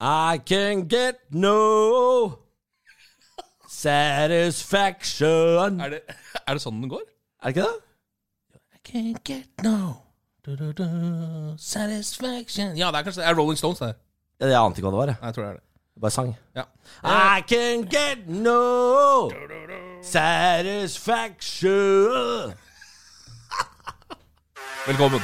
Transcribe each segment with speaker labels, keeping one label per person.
Speaker 1: I can get no satisfaction.
Speaker 2: Er det, er det sånn den går?
Speaker 1: Er det ikke det? I can't get no du-du-du, satisfaction
Speaker 2: Ja, det er kanskje det. Er Rolling Stones, det.
Speaker 1: Jeg ante ikke hva det var. jeg.
Speaker 2: Nei, jeg tror det er det.
Speaker 1: Jeg bare sang.
Speaker 2: Ja.
Speaker 1: I can get no satisfaction.
Speaker 2: Velkommen.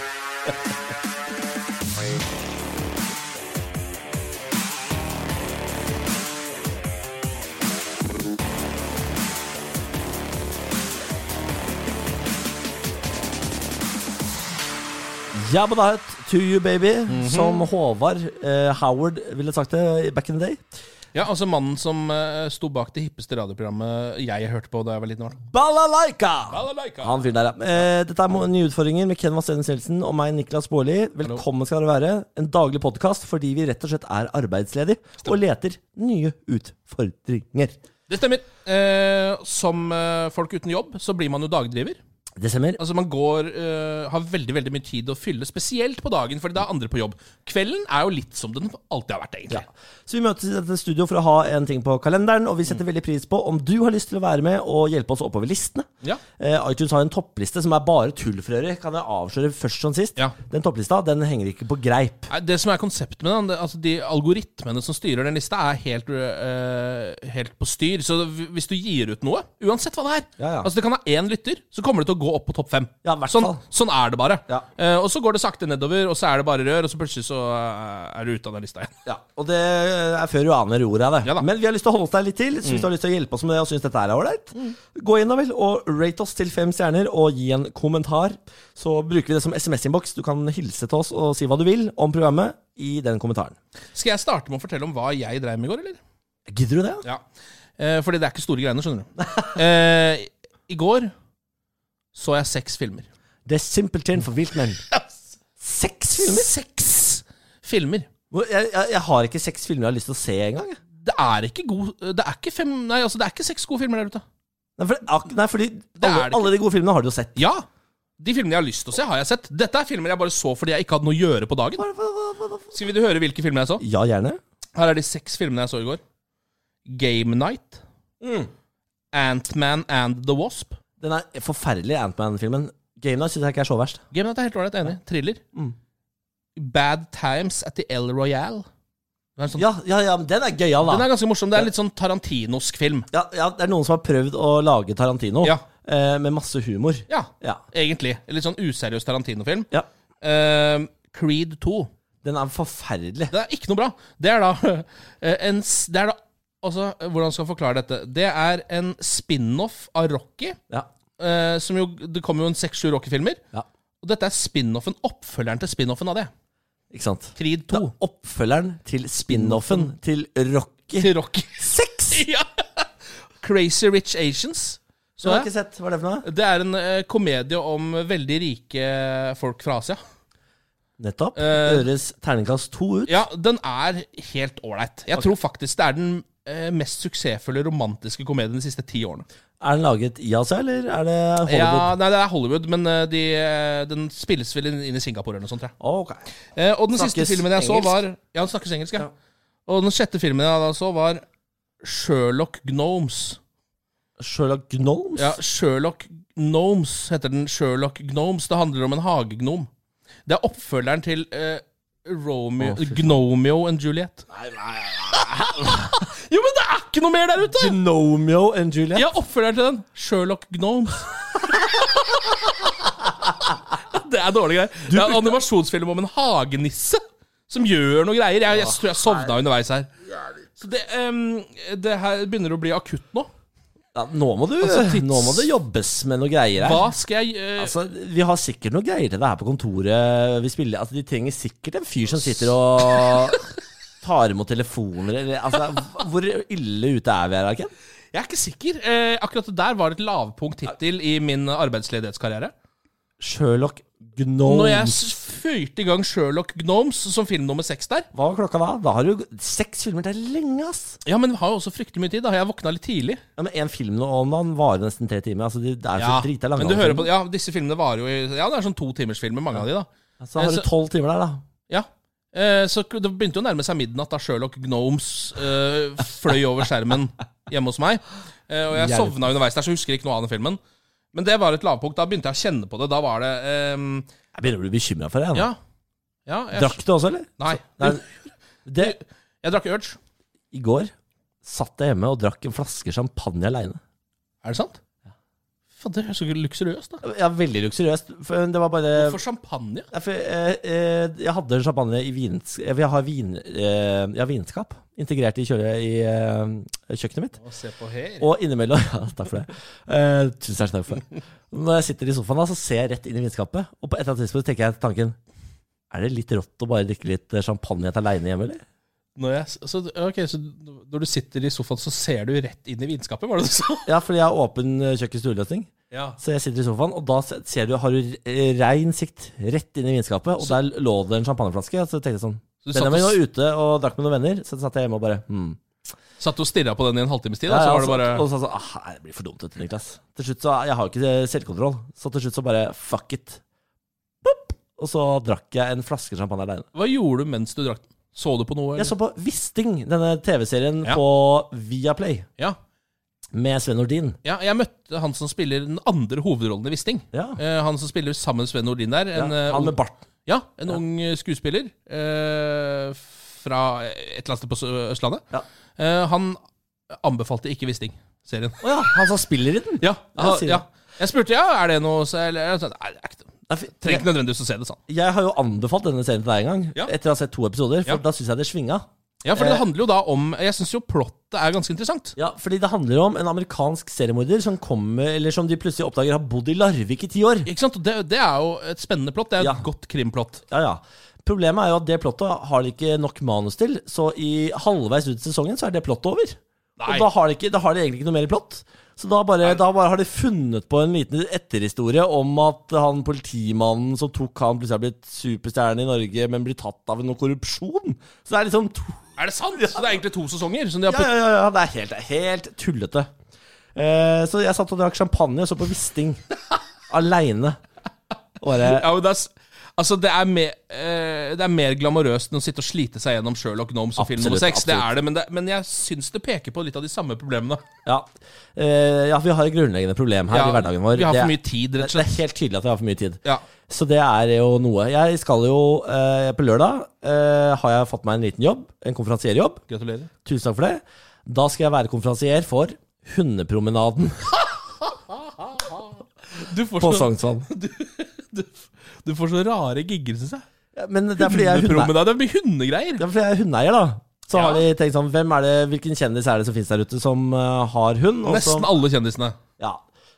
Speaker 1: Jabba da het to you, baby, som Håvard eh, Howard ville sagt det back in the day.
Speaker 2: Ja, altså mannen som eh, sto bak det hippeste radioprogrammet jeg hørte på da jeg var liten. Var. det?
Speaker 1: Balalaika!
Speaker 2: Han-
Speaker 1: Han fyren der, ja. Eh, dette er mo- nye utfordringer med Ken Vasenus Nielsen og meg, Niklas Baarli. Velkommen skal dere være. En daglig podkast fordi vi rett og slett er arbeidsledige og leter nye utfordringer.
Speaker 2: Det stemmer. Eh, som eh, folk uten jobb, så blir man jo dagdriver.
Speaker 1: Det stemmer.
Speaker 2: Altså Man går, eh, har veldig veldig mye tid å fylle, spesielt på dagen, fordi da er andre på jobb. Kvelden er jo litt som den alltid har vært, egentlig.
Speaker 1: Ja. Så vi møtes i dette studio for å ha en ting på kalenderen, og vi
Speaker 2: Mm.
Speaker 1: setter veldig pris på om du har lyst til å være med og hjelpe oss oppover listene.
Speaker 2: Ja.
Speaker 1: Eh, iTunes har en toppliste som er bare tull for øret, kan jeg avsløre først som sist.
Speaker 2: Ja.
Speaker 1: Den topplista den henger ikke på greip.
Speaker 2: Nei, Det som er konseptet med den, det, altså de algoritmene som styrer den lista, er helt, øh, helt på styr. Så hv- hvis du gir ut noe, uansett hva det er
Speaker 1: Ja, ja.
Speaker 2: Altså Det kan ha én lytter, så kommer det til å gå opp på topp fem.
Speaker 1: Ja, i hvert
Speaker 2: sånn,
Speaker 1: fall.
Speaker 2: sånn er det bare.
Speaker 1: Ja.
Speaker 2: Eh, og så går det sakte nedover, og så er det bare rør, og så plutselig så eh, er du ute av den lista igjen.
Speaker 1: Ja, og det er før du aner ordet av det.
Speaker 2: Ja da. Mm.
Speaker 1: Men vi har lyst til å holde oss der litt til. Så hvis du har lyst til å hjelpe oss med det og syns dette er ålreit, gå inn da vel og rate oss til fem stjerner og gi en kommentar. Så bruker vi det som SMS-innboks. Du kan hilse til oss og si hva du vil om programmet i den kommentaren.
Speaker 2: Skal jeg starte med å fortelle om hva jeg dreiv med i går, eller?
Speaker 1: Gidder du det?
Speaker 2: Ja. Eh, fordi det er ikke store greiene, skjønner du. Eh, I går så jeg seks filmer.
Speaker 1: Det er simpelthen for vilt, men Seks filmer?
Speaker 2: Seks filmer.
Speaker 1: Hvor- Jeg, jeg, jeg har ikke seks filmer jeg har lyst til å se engang. jeg.
Speaker 2: det er ikke god Det er ikke fem Nei, altså, det er ikke seks gode filmer der ute.
Speaker 1: Nei, for, ak- nei, fordi
Speaker 2: er
Speaker 1: alle,
Speaker 2: det ikke.
Speaker 1: alle de gode filmene har du jo sett.
Speaker 2: Ja! De filmene jeg har lyst til å se, har jeg sett. Dette er filmer jeg bare så fordi jeg ikke hadde noe å gjøre på dagen. Skal vi høre hvilke filmer jeg så?
Speaker 1: Ja, gjerne.
Speaker 2: Her er de seks filmene jeg så i går. Game Night. Mm. Ant-Man and the Wasp.
Speaker 1: Den er forferdelige Antman-filmen. Game Night syns jeg ikke er så verst.
Speaker 2: Game Night er helt ålreit, enig. Thriller. Bad Times at the El Royale. Det er en sånn,
Speaker 1: Ja, ja, ja, men den er gøyal, da.
Speaker 2: Den er ganske morsom. Det er en litt sånn tarantinosk film.
Speaker 1: ja, ja, det er noen som har prøvd å lage Tarantino
Speaker 2: Ja.
Speaker 1: eh, med masse humor.
Speaker 2: Ja,
Speaker 1: Ja.
Speaker 2: egentlig. En Litt sånn useriøs Tarantino-film.
Speaker 1: ja.
Speaker 2: Eh, Creed 2.
Speaker 1: Den er forferdelig.
Speaker 2: Det er ikke noe bra. Det er da eh, en s- Det er da Altså, hvordan skal jeg forklare dette? Det er en spin-off av Rocky.
Speaker 1: Ja.
Speaker 2: eh, som jo, det kommer jo en seks-sju Rocky-filmer.
Speaker 1: ja.
Speaker 2: Og dette er spin-offen, oppfølgeren til spin-offen av det.
Speaker 1: Ikke sant?
Speaker 2: Creed
Speaker 1: Det
Speaker 2: 2.
Speaker 1: er oppfølgeren til spin-offen til Rocky
Speaker 2: Mm. Til Rocky.
Speaker 1: 6!
Speaker 2: ja. Crazy Rich Asians.
Speaker 1: Du
Speaker 2: Så
Speaker 1: har ikke
Speaker 2: jeg.
Speaker 1: sett hva er det for noe?
Speaker 2: Det er en eh, komedie om veldig rike folk fra Asia.
Speaker 1: Nettopp.
Speaker 2: Eh,
Speaker 1: Høres terningkast to ut.
Speaker 2: Ja, den er helt ålreit. Jeg tror faktisk det er den eh, mest suksessfulle romantiske komedien de siste ti årene.
Speaker 1: Er den laget i Asia, eller er det Hollywood?
Speaker 2: Ja, nei, det er Hollywood, men eh, de, eh, den spilles vel inn inn i Singapore eller noe sånt, tror jeg.
Speaker 1: Ok.
Speaker 2: Eh, og den
Speaker 1: Snakkes
Speaker 2: siste filmen jeg så,
Speaker 1: engelsk?
Speaker 2: var Ja, den snakkes engelsk, ja. Og den sjette filmen jeg da så, var Sherlock Gnomes.
Speaker 1: Sherlock Gnomes?
Speaker 2: Ja, Sherlock Gnomes heter den. Sherlock Gnomes. Det handler om en hagegnom. Det er oppfølgeren til eh, Romeo,
Speaker 1: Å, fy faen.
Speaker 2: Gnomeo and Juliet. jo, men det er ikke noe mer der ute!
Speaker 1: Gnomeo and Juliet?
Speaker 2: Ja, oppfølgeren til den. Sherlock Gnomes. det er dårlige greier. Det er en animasjonsfilm om en hagenisse som gjør noe greier. Jeg, jeg tror jeg sovna underveis her. Så det, em, det her begynner å bli akutt nå.
Speaker 1: Ja, nå, må du,
Speaker 2: Altså, tids-
Speaker 1: nå må det jobbes med noe greier her.
Speaker 2: Hva skal jeg eh,
Speaker 1: Altså, Vi har sikkert noe greier til det her på kontoret. Vi spiller, altså, De trenger sikkert en fyr som sitter og tar imot telefoner eller altså, hv- Hvor ille ute er vi her, Arken?
Speaker 2: Jeg er ikke sikker. Eh, akkurat det der var et lavpunkt hittil i min arbeidsledighetskarriere.
Speaker 1: Sherlock
Speaker 2: Når jeg
Speaker 1: Gnomes.
Speaker 2: s- fyrte i gang Sherlock Gnomes som film nummer seks der
Speaker 1: Hva var klokka da? Da har du g- seks filmer. Det er lenge, ass!
Speaker 2: Ja, men vi har jo også fryktelig mye tid. Da har jeg våkna litt tidlig.
Speaker 1: Ja, men En film nå om dagen varer nesten tre timer. Altså, det det er så
Speaker 2: Ja,
Speaker 1: drita lange.
Speaker 2: men du hører på,
Speaker 1: filmer.
Speaker 2: ja, disse filmene varer jo i Ja, det er sånn totimersfilmer, mange av de, da.
Speaker 1: Så har du
Speaker 2: så-
Speaker 1: tolv timer der, da.
Speaker 2: Ja. Eh, så det begynte jo å nærme seg midnatt da Sherlock Gnomes eh, fløy over skjermen hjemme hos meg. Eh, og jeg
Speaker 1: Hjelp.
Speaker 2: sovna underveis der, så jeg husker ikke noe av den filmen. Men det var et lavpunkt. Da begynte jeg å kjenne på det. Da var det ehm,
Speaker 1: Jeg begynner å bli bekymra for deg.
Speaker 2: Ja.
Speaker 1: Ja.
Speaker 2: ja jeg,
Speaker 1: Drakk du også, eller?
Speaker 2: Nei.
Speaker 1: Nei, det,
Speaker 2: Jeg drakk Urge.
Speaker 1: I går satt jeg hjemme og drakk en flaske champagne aleine.
Speaker 2: Er det sant? Faen, det er så luksuriøst, da.
Speaker 1: Ja, veldig luksuriøst. For eh, det var bare
Speaker 2: Hvorfor champagne?
Speaker 1: Nei, for, eh, eh, jeg hadde champagne i vins... eh, Jeg har, vin, eh, jeg har vinskap integrert i, kjøle, i eh, kjøkkenet mitt.
Speaker 2: Se på her.
Speaker 1: Og innimellom ja, Takk for det. Eh, tusen hjertelig takk for det. Når jeg sitter i sofaen, da, så ser jeg rett inn i vinskapet, og på et eller annet tidspunkt tenker jeg tanken Er det litt rått å bare drikke litt eh, champagne helt aleine hjemme, eller?
Speaker 2: Når, jeg, så, ok, så når du sitter i sofaen, så ser du rett inn i vinskapet, var det du sa?
Speaker 1: Ja, fordi jeg har åpen eh, kjøkken-stueløsning.
Speaker 2: Ja.
Speaker 1: Så jeg sitter i sofaen, og da se- ser du, har du eh, rein sikt rett inn i vinskapet, og der lå det en champagneflaske. Og så tenkte jeg sånn
Speaker 2: Så du satt
Speaker 1: Benjamin
Speaker 2: og,
Speaker 1: var ute og drakk med noen venner, så satt jeg hjemme og bare hmm.
Speaker 2: satt og stirra på den i en halvtimes tid,
Speaker 1: Ja,
Speaker 2: da,
Speaker 1: ja,
Speaker 2: så var det
Speaker 1: så-
Speaker 2: bare
Speaker 1: Og så sa jeg sånn ah, nei, Det blir for dumt, dette, Niklas. Til slutt så Jeg har jo ikke selvkontroll, så til slutt så bare fuck it. Pop! Og så drakk jeg en flaske champagne aleine.
Speaker 2: Hva gjorde du mens du drakk? Så du på noe?
Speaker 1: Jeg så på Wisting, denne TV-serien
Speaker 2: Ja.
Speaker 1: på Viaplay,
Speaker 2: Ja.
Speaker 1: med Sven Nordin.
Speaker 2: ja, jeg møtte han som spiller den andre hovedrollen i Wisting.
Speaker 1: Ja.
Speaker 2: Eh, han som spiller sammen med Sven Nordin der. En,
Speaker 1: ja,
Speaker 2: eh,
Speaker 1: han
Speaker 2: ung-
Speaker 1: med barten.
Speaker 2: ja, en ung eh, skuespiller eh, fra et eller annet sted på Sø- Østlandet.
Speaker 1: Ja.
Speaker 2: Eh, han anbefalte ikke Wisting-serien.
Speaker 1: Å ja, han som spiller i den.
Speaker 2: Ja,
Speaker 1: Ja,
Speaker 2: ja,
Speaker 1: sier
Speaker 2: ja. Jeg spurte ja, er det noe så, eller, jeg sa, Nei, det er ikke det.
Speaker 1: Nei, fy-
Speaker 2: Trenger ikke nødvendigvis å se det sånn.
Speaker 1: Jeg har jo anbefalt denne serien til deg en gang,
Speaker 2: Ja.
Speaker 1: etter å ha sett to episoder, for
Speaker 2: Ja.
Speaker 1: da syns jeg det svinga.
Speaker 2: Ja, for
Speaker 1: Eh.
Speaker 2: det handler jo da om Jeg syns jo plottet er ganske interessant.
Speaker 1: Ja, fordi det handler om en amerikansk seriemorder som kommer, eller som de plutselig oppdager har bodd i Larvik i ti år.
Speaker 2: Ikke sant? Og Det, det er jo et spennende plott. Det er jo et
Speaker 1: Ja.
Speaker 2: godt krimplott.
Speaker 1: Ja, ja. Problemet er jo at det plottet har de ikke nok manus til, så i halvveis ut i sesongen så er det plottet over.
Speaker 2: Nei.
Speaker 1: Og da har, de ikke, da har de egentlig ikke noe mer plott. Så da bare, da bare har de funnet på en liten etterhistorie om at han politimannen som tok han, plutselig har blitt superstjerne i Norge, men blir tatt av noe korrupsjon. Så det er liksom to
Speaker 2: Er det sant? Så det er egentlig to sesonger? Som de har
Speaker 1: Ja,
Speaker 2: putt...
Speaker 1: ja, ja, ja. Det er helt, det er helt tullete. Eh, så jeg satt og drakk champagne og så på Wisting. Aleine. Bare
Speaker 2: ja, men det er, s- altså, det er, mer, eh, det er mer glamorøst enn å sitte og slite seg gjennom Sherlock Gnomes og film nummer
Speaker 1: Absolutt,
Speaker 2: seks. Det
Speaker 1: absolutt.
Speaker 2: er det, men, det, men jeg syns det peker på litt av de samme problemene.
Speaker 1: Ja. Eh, ja, vi har et grunnleggende problem her
Speaker 2: Ja,
Speaker 1: i hverdagen vår.
Speaker 2: Vi har
Speaker 1: Det er-
Speaker 2: for mye tid, rett og
Speaker 1: Det er
Speaker 2: slett.
Speaker 1: helt tydelig at vi har for mye tid.
Speaker 2: Ja.
Speaker 1: Så det er jo noe. Jeg skal jo eh, På lørdag eh, har jeg fått meg en liten jobb. En konferansierjobb.
Speaker 2: Gratulerer.
Speaker 1: Tusen takk for det. Da skal jeg være konferansier for Hundepromenaden
Speaker 2: Du får,
Speaker 1: på
Speaker 2: så,
Speaker 1: Sognsvann.
Speaker 2: du, du får så rare gigger, syns jeg.
Speaker 1: Ja, Men det er fordi jeg er hundeeier.
Speaker 2: Hundepromenade. Det blir hundegreier.
Speaker 1: Ja, for jeg er hundeeier, da. Så
Speaker 2: Ja.
Speaker 1: har de tenkt sånn hvem er det, Hvilken kjendis er det som finnes der ute som eh, har hund? Og
Speaker 2: Nesten
Speaker 1: som,
Speaker 2: alle kjendisene.
Speaker 1: ja.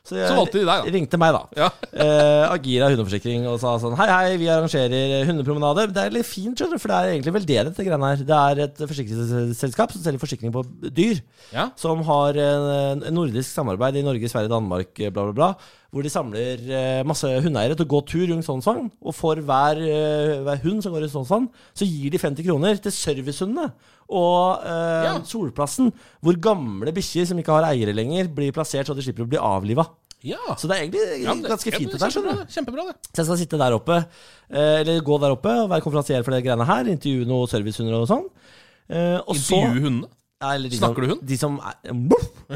Speaker 1: Så, jeg,
Speaker 2: Så valgte de deg, da.
Speaker 1: Ringte meg, da.
Speaker 2: Ja.
Speaker 1: Eh, Agira hundeforsikring og sa sånn Hei, hei, vi arrangerer eh, hundepromenader. Det er litt fint, skjønner du, for det er egentlig veldedighet, dette greiene her. Det er et forsikringsselskap som selger forsikring på dyr.
Speaker 2: Ja.
Speaker 1: Som har en, en nordisk samarbeid i Norge, Sverige, Danmark, eh, bla, bla, bla. Hvor de samler eh, masse hundeeiere til å gå tur rundt Sognsvann. Og for hver, eh, hver hund som går rundt Sognsvann, så gir de 50 kroner til servicehundene. Og eh,
Speaker 2: Ja.
Speaker 1: Solplassen, hvor gamle bikkjer som ikke har eiere lenger, blir plassert så de slipper å bli avliva.
Speaker 2: Ja.
Speaker 1: Så det er egentlig
Speaker 2: Ja, men det-
Speaker 1: ganske
Speaker 2: ja,
Speaker 1: fint,
Speaker 2: men
Speaker 1: det der, skjønner du.
Speaker 2: kjempebra, Kjempebra, det.
Speaker 1: Så jeg skal sitte der oppe, eh, eller gå der oppe og være konferansier for de greiene her. Intervjue noen servicehunder og sånn. Eh, og så-
Speaker 2: Intervjue hundene.
Speaker 1: Ja, eller de
Speaker 2: Snakker du
Speaker 1: som,
Speaker 2: hund?
Speaker 1: De som er,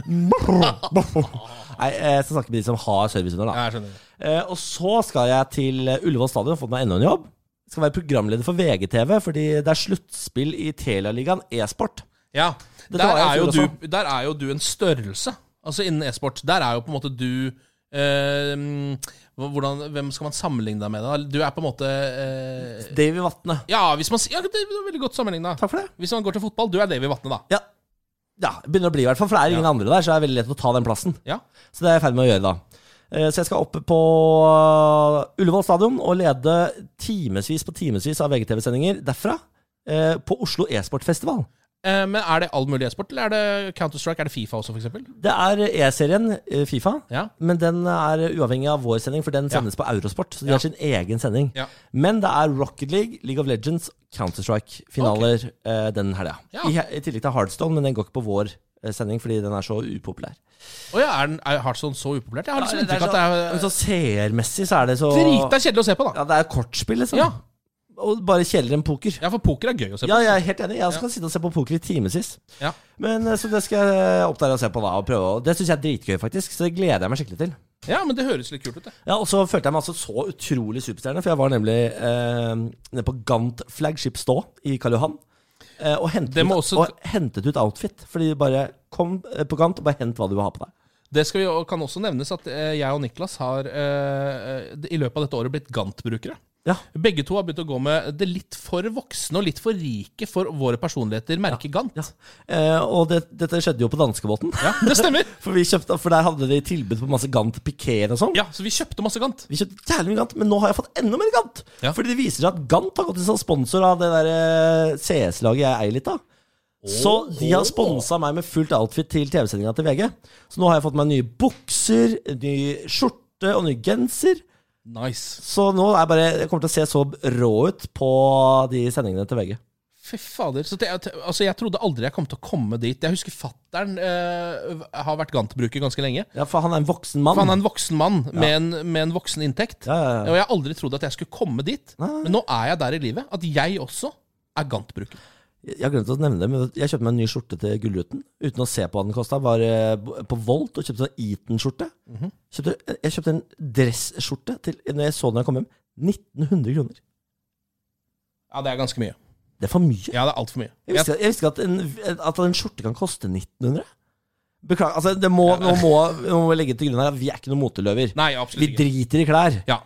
Speaker 1: Nei, eh, jeg skal snakke med de som har servicehunder, da.
Speaker 2: Ja, jeg skjønner.
Speaker 1: Eh, og så skal jeg til eh, Ullevål stadion og fått meg enda en jobb. Skal være programleder for VGTV, fordi det er sluttspill i Telialigaen e-sport.
Speaker 2: Ja.
Speaker 1: Dette
Speaker 2: Der
Speaker 1: var jeg i
Speaker 2: er, jo
Speaker 1: fjor
Speaker 2: du, der er jo du en størrelse, altså innen e-sport. Der er jo på en måte du eh, hvordan, Hvem skal man sammenligne deg med? da? Du er på en måte eh,
Speaker 1: Davy Vatne.
Speaker 2: Ja, hvis man, s- ja, det er veldig godt sammenligna.
Speaker 1: Takk for det.
Speaker 2: Hvis man går til fotball, du er Davy Vatne, da.
Speaker 1: Ja. ja. Begynner å bli, i hvert fall, for det er ingen andre der, så det er veldig lett å ta den plassen.
Speaker 2: Ja.
Speaker 1: Så det er jeg i ferd med å gjøre, da. Eh, Så jeg skal opp på eh, Ullevål stadion og lede timevis på timevis av VGTV-sendinger derfra eh, på Oslo e-sportfestival.
Speaker 2: Eh, Men er det all mulig e-sport, eller er det Counter-Strike? Er det Fifa også, for eksempel?
Speaker 1: Det er E-serien, eh, Fifa,
Speaker 2: Ja.
Speaker 1: men den er uavhengig av vår sending, for den sendes på Eurosport. Så de
Speaker 2: Ja.
Speaker 1: har sin egen sending.
Speaker 2: Ja.
Speaker 1: Men det er Rocket League, League of Legends, Counter-Strike-finaler eh, den helga.
Speaker 2: Ja.
Speaker 1: I, he- I tillegg til Hardstone, men den går ikke på vår eh, sending fordi den er så upopulær.
Speaker 2: Å ja, er, den- er Hearthstone så upopulært? Jeg har liksom
Speaker 1: det er
Speaker 2: inntrykk av
Speaker 1: så,
Speaker 2: at
Speaker 1: men
Speaker 2: det er
Speaker 1: så seermessig så er det så
Speaker 2: drita kjedelig å se på, da.
Speaker 1: Ja, det er kortspill, liksom.
Speaker 2: Ja.
Speaker 1: Og bare kjedeligere enn poker.
Speaker 2: Ja, for poker er gøy å se på.
Speaker 1: Ja, jeg er helt enig. Jeg skal sitte og se på poker i timevis.
Speaker 2: Ja.
Speaker 1: Men eh, Så det skal jeg opp der og se på, da. Og prøve. Og det syns jeg er dritgøy, faktisk. Så det gleder jeg meg skikkelig til.
Speaker 2: Ja, men det høres litt kult ut, det.
Speaker 1: Ja, Og så følte jeg meg altså så utrolig superstjerne, for jeg var nemlig eh, nede på Gant Flagship Stå i Karl Johan. eh, og, hentet
Speaker 2: Det må
Speaker 1: ut,
Speaker 2: også-
Speaker 1: og hentet ut outfit. Fordi de bare kom eh, på Gant og bare hent hva du vil ha på deg.
Speaker 2: Det skal vi, og kan også nevnes at eh, jeg og Niklas har eh, eh, i løpet av dette året blitt Gant-brukere.
Speaker 1: Ja,
Speaker 2: Begge to har begynt å gå med det litt for voksne og litt for rike for våre personligheter, merket Gant.
Speaker 1: ja. Eh, og det, dette skjedde jo på danskebåten.
Speaker 2: Ja, det stemmer!
Speaker 1: For, vi kjøpte, for der hadde de tilbud på masse Gant pikéer og sånn.
Speaker 2: Ja, Så vi kjøpte masse Gant.
Speaker 1: Vi kjøpte jævlig mye Gant, men nå har jeg fått enda mer Gant.
Speaker 2: Ja.
Speaker 1: Fordi det viser seg at Gant har gått inn som sponsor av det der eh, CS-laget jeg eier litt av. Så de har sponsa meg med fullt outfit til TV-sendinga til VG. Så nå har jeg fått meg nye bukser, ny skjorte og ny genser.
Speaker 2: Nice.
Speaker 1: Så nå er jeg bare Jeg kommer til å se så rå ut på de sendingene til VG.
Speaker 2: Fy fader. Så det, altså, jeg trodde aldri jeg kom til å komme dit. Jeg husker fattern eh, har vært Gant-bruker ganske lenge.
Speaker 1: Ja, for han er en voksen mann.
Speaker 2: For han er en voksen mann med, en, med en voksen inntekt.
Speaker 1: Ja, ja, ja.
Speaker 2: Og jeg har aldri trodd at jeg skulle komme dit.
Speaker 1: Nei.
Speaker 2: Men nå er jeg der i livet. At jeg også er Gant-bruker.
Speaker 1: Jeg har glemt å nevne det, men jeg kjøpte meg en ny skjorte til Gullruten. Uten å se på hva den kosta. Var eh, på Volt og kjøpte en Eton-skjorte.
Speaker 2: Mhm.
Speaker 1: Kjøpte- eh, Jeg kjøpte en dressskjorte til Når jeg så den da jeg kom hjem. 1900 kroner.
Speaker 2: Ja, det er ganske mye.
Speaker 1: Det er for mye.
Speaker 2: Ja, det er altfor mye.
Speaker 1: Jeg visste, jeg visste ikke at en, at en skjorte kan koste 1900. Beklager. Altså, det må, nå må nå må vi legge til grunn her at vi er ikke noen moteløver.
Speaker 2: Nei,
Speaker 1: Vi
Speaker 2: absolutt ikke.
Speaker 1: driter i klær.
Speaker 2: Ja.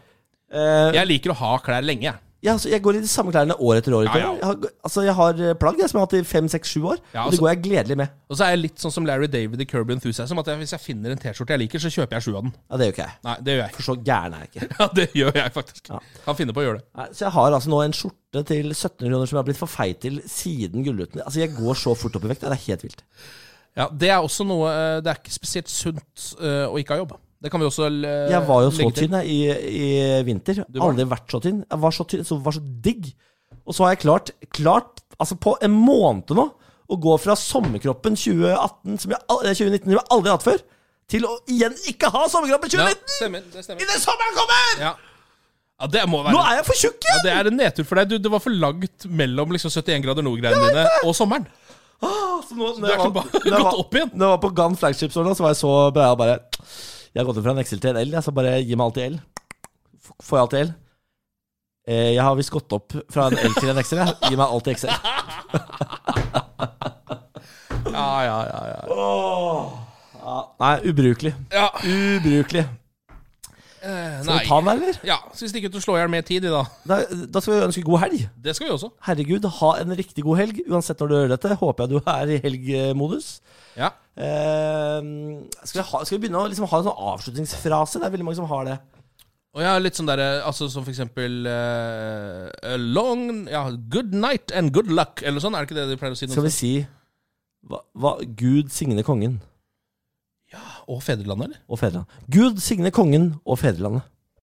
Speaker 1: Eh,
Speaker 2: Jeg liker å ha klær lenge, jeg.
Speaker 1: ja, altså, jeg går i de samme klærne år etter år.
Speaker 2: Ja, ja.
Speaker 1: Jeg, har, altså, jeg har plagg jeg, som jeg har hatt i fem, seks, sju år.
Speaker 2: Ja,
Speaker 1: og det
Speaker 2: altså-
Speaker 1: går jeg gledelig med.
Speaker 2: Og så er jeg litt sånn som Larry David i Kirby Enthusiasm. At jeg, hvis jeg finner en T-skjorte jeg liker, så kjøper jeg sju av den.
Speaker 1: Ja, Det gjør ikke jeg.
Speaker 2: Nei, det gjør jeg.
Speaker 1: For så gæren er jeg ikke.
Speaker 2: Ja, det gjør jeg faktisk.
Speaker 1: Ja.
Speaker 2: Kan finne på å gjøre det.
Speaker 1: Nei, så jeg har altså nå en skjorte til 1700 kroner som jeg har blitt for feit til siden Gullruten. Altså, jeg går så fort opp i vekt. Det er helt vilt.
Speaker 2: Ja, Det er også noe eh, Det er ikke spesielt sunt eh, å ikke ha jobb. Det kan vi også eh,
Speaker 1: Jeg var jo så
Speaker 2: legge til.
Speaker 1: tynn jeg, i, i vinter.
Speaker 2: var
Speaker 1: Aldri vært så tynn. Jeg var så tynn, så, var så digg. Og så har jeg klart, klart altså på en måned nå, å gå fra sommerkroppen 2018, som jeg, al- eh, 2019, som jeg aldri har hatt før, til å igjen ikke ha sommerkroppen
Speaker 2: Ja,
Speaker 1: 2019!
Speaker 2: stemmer, det stemmer.
Speaker 1: I det sommeren kommer!
Speaker 2: Ja. ja, det må være
Speaker 1: Nå er jeg for tjukk
Speaker 2: ja,
Speaker 1: igjen!
Speaker 2: Det er en nedtur for deg. Du, det var for langt mellom liksom 71 grader nord-greiene dine og sommeren.
Speaker 1: Så nå-
Speaker 2: Du er
Speaker 1: når jeg
Speaker 2: tilbake-
Speaker 1: var- når jeg
Speaker 2: gått
Speaker 1: var-
Speaker 2: opp igjen.
Speaker 1: Når jeg var på Gun Flagship Store, da, så var jeg så bra og bare Jeg har gått over fra en Excel til en L, jeg, så bare gi meg alt i L. F- Får jeg alt i L? Eh, Jeg har visst gått opp fra en L til en Excel. Jeg. Gi meg alt i Excel.
Speaker 2: Ja, ja, ja, ja.
Speaker 1: Ja, Nei, ubrukelig.
Speaker 2: ja.
Speaker 1: Ubrukelig.
Speaker 2: eh,
Speaker 1: Skal
Speaker 2: Nei.
Speaker 1: vi ta den, eller?
Speaker 2: Ja, Skal vi stikke ut og slå i hjel mer tid i dag?
Speaker 1: Da, da skal vi ønske god helg.
Speaker 2: Det skal vi også.
Speaker 1: Herregud, ha en riktig god helg. Uansett når du hører dette, håper jeg du er i helgmodus.
Speaker 2: Ja.
Speaker 1: Eh, skal, vi ha, skal vi begynne å liksom ha en sånn avslutningsfrase? Det er veldig mange som har det.
Speaker 2: Og jeg har litt sånn derre altså, Som for eksempel eh, a long ja, Good night and good luck, eller sånn. Er det ikke det de pleier å si? noen
Speaker 1: Skal vi si hva, hva, Gud signe kongen
Speaker 2: steder? Og fedrelandet, eller?
Speaker 1: og fedrelandet. Gud signe kongen og fedrelandet.